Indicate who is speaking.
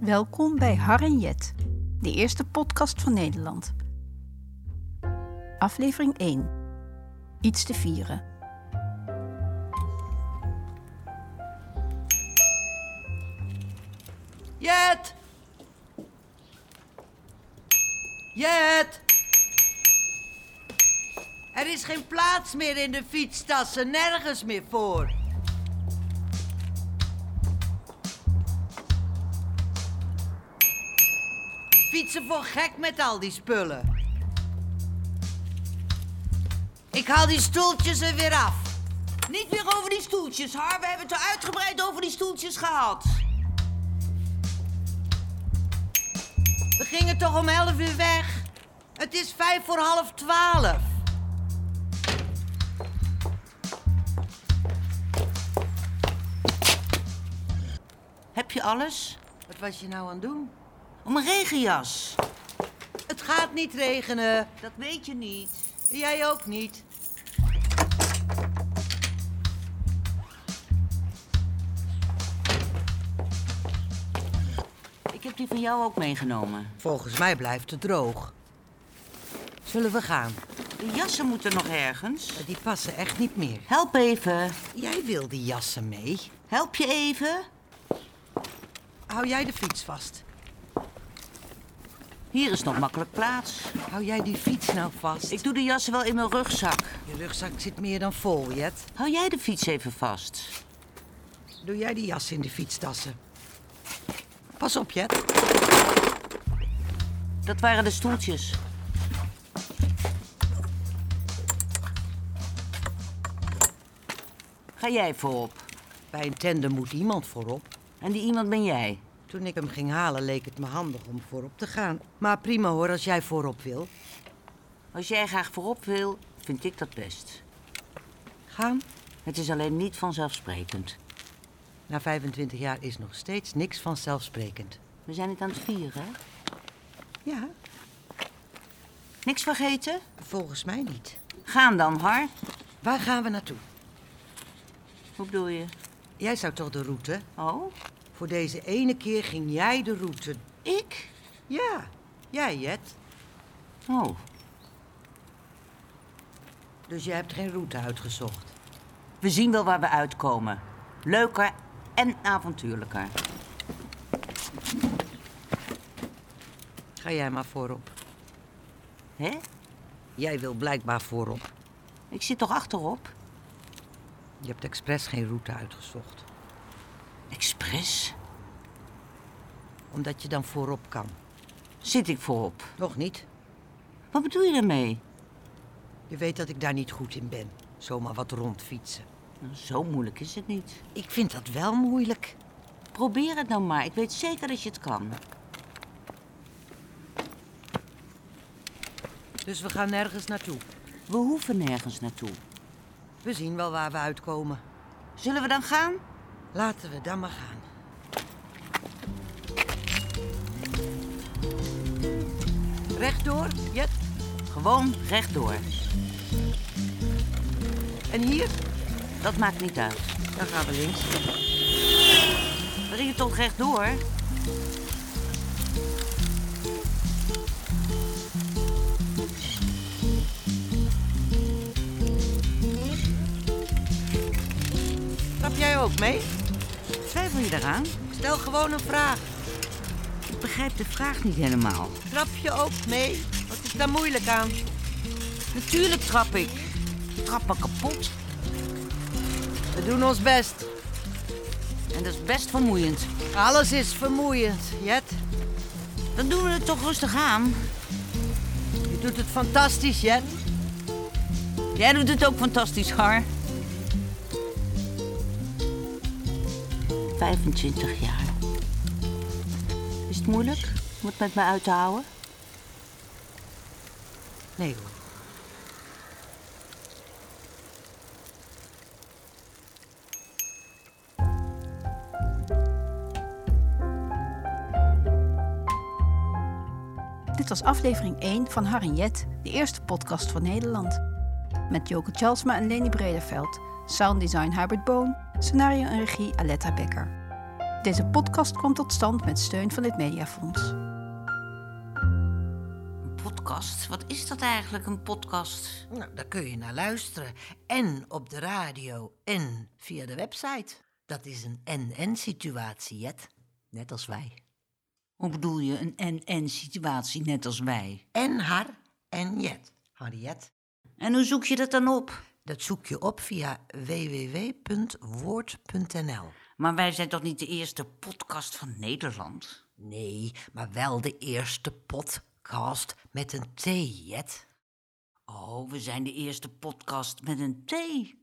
Speaker 1: Welkom bij Har en Jet, de eerste podcast van Nederland. Aflevering 1. Iets te vieren.
Speaker 2: Jet! Jet! Er is geen plaats meer in de fietstassen, nergens meer voor. Fietsen voor gek met al die spullen. Ik haal die stoeltjes er weer af. Niet meer over die stoeltjes, Har. We hebben het er uitgebreid over die stoeltjes gehad. We gingen toch om 11 uur weg? Het is vijf voor half twaalf. Heb je alles? Wat was je nou aan het doen? Om een regenjas. Het gaat niet regenen. Dat weet je niet. Jij ook niet.
Speaker 3: Ik heb die van jou ook meegenomen.
Speaker 2: Volgens mij blijft het droog. Zullen we gaan?
Speaker 3: De jassen moeten nog ergens.
Speaker 2: Die passen echt niet meer.
Speaker 3: Help even.
Speaker 2: Jij wil die jassen mee.
Speaker 3: Help je even?
Speaker 2: Hou jij de fiets vast?
Speaker 3: Hier is nog makkelijk plaats.
Speaker 2: Hou jij die fiets nou vast?
Speaker 3: Ik doe de jassen wel in mijn rugzak.
Speaker 2: Je rugzak zit meer dan vol, Jet.
Speaker 3: Hou jij de fiets even vast.
Speaker 2: Doe jij die jas in de fietstassen? Pas op, Jet.
Speaker 3: Dat waren de stoeltjes. Ga jij voorop.
Speaker 2: Bij een tender moet iemand voorop.
Speaker 3: En die iemand ben jij.
Speaker 2: Toen ik hem ging halen, leek het me handig om voorop te gaan. Maar prima hoor, als jij voorop wil.
Speaker 3: Als jij graag voorop wil, vind ik dat best.
Speaker 2: Gaan?
Speaker 3: Het is alleen niet vanzelfsprekend.
Speaker 2: Na 25 jaar is nog steeds niks vanzelfsprekend.
Speaker 3: We zijn het aan het vieren, hè?
Speaker 2: Ja,
Speaker 3: Niks vergeten?
Speaker 2: volgens mij niet.
Speaker 3: Gaan dan, Har.
Speaker 2: Waar gaan we naartoe?
Speaker 3: Hoe bedoel je?
Speaker 2: Jij zou toch de route?
Speaker 3: Oh,
Speaker 2: Voor deze ene keer ging jij de route.
Speaker 3: ik?
Speaker 2: Ja, jij Jet.
Speaker 3: Oh,
Speaker 2: Dus jij hebt geen route uitgezocht.
Speaker 3: we zien wel waar we uitkomen. Leuker en avontuurlijker.
Speaker 2: Ga jij maar voorop.
Speaker 3: Hè?
Speaker 2: Jij wil blijkbaar voorop.
Speaker 3: Ik zit toch achterop?
Speaker 2: Je hebt expres geen route uitgezocht.
Speaker 3: Expres?
Speaker 2: Omdat je dan voorop kan.
Speaker 3: Zit ik voorop?
Speaker 2: Nog niet.
Speaker 3: Wat bedoel je daarmee?
Speaker 2: Je weet dat ik daar niet goed in ben. Zomaar wat rondfietsen.
Speaker 3: Nou, Zo moeilijk is het niet.
Speaker 2: Ik vind dat wel moeilijk.
Speaker 3: Probeer het nou maar. Ik weet zeker dat je het kan.
Speaker 2: Dus we gaan nergens naartoe.
Speaker 3: We hoeven nergens naartoe.
Speaker 2: We zien wel waar we uitkomen.
Speaker 3: Zullen we dan gaan?
Speaker 2: Laten we dan maar gaan. Rechtdoor, Jet.
Speaker 3: Gewoon rechtdoor.
Speaker 2: En hier?
Speaker 3: Dat maakt niet uit.
Speaker 2: Dan gaan we links.
Speaker 3: We gingen toch rechtdoor?
Speaker 2: Trap jij ook mee?
Speaker 3: Twijfel je daaraan?
Speaker 2: Stel gewoon een vraag.
Speaker 3: Ik begrijp de vraag niet helemaal.
Speaker 2: Trap je ook mee? Wat is daar moeilijk aan?
Speaker 3: Natuurlijk trap ik. Trap me kapot.
Speaker 2: We doen ons best.
Speaker 3: En dat is best vermoeiend.
Speaker 2: Alles is vermoeiend, Jet.
Speaker 3: Dan doen we het toch rustig aan.
Speaker 2: Je doet het fantastisch, Jet.
Speaker 3: Jij doet het ook fantastisch, Har. 25 jaar. Is het moeilijk om het met me uit te houden?
Speaker 2: Nee hoor.
Speaker 1: Dit was aflevering 1 van Har en Jet, de eerste podcast van Nederland. Met Joke Tjalsma en Leni Brederveld, sounddesign Hubert Boon, scenario en regie Aletta Becker. Deze podcast kwam tot stand met steun van dit Mediafonds.
Speaker 3: Een podcast? Wat is dat eigenlijk, een podcast?
Speaker 2: Nou, daar kun je naar luisteren. En op de radio en via de website. Dat is een en-en-situatie, Jet. Net als wij.
Speaker 3: Hoe bedoel je een en-en situatie, net als wij?
Speaker 2: En haar en Jet. Harriet.
Speaker 3: En hoe zoek je dat dan op?
Speaker 2: Dat zoek je op via www.woord.nl.
Speaker 3: Maar wij zijn toch niet de eerste podcast van Nederland?
Speaker 2: Nee, maar wel de eerste podcast met een T, Jet.
Speaker 3: Oh, we zijn de eerste podcast met een T.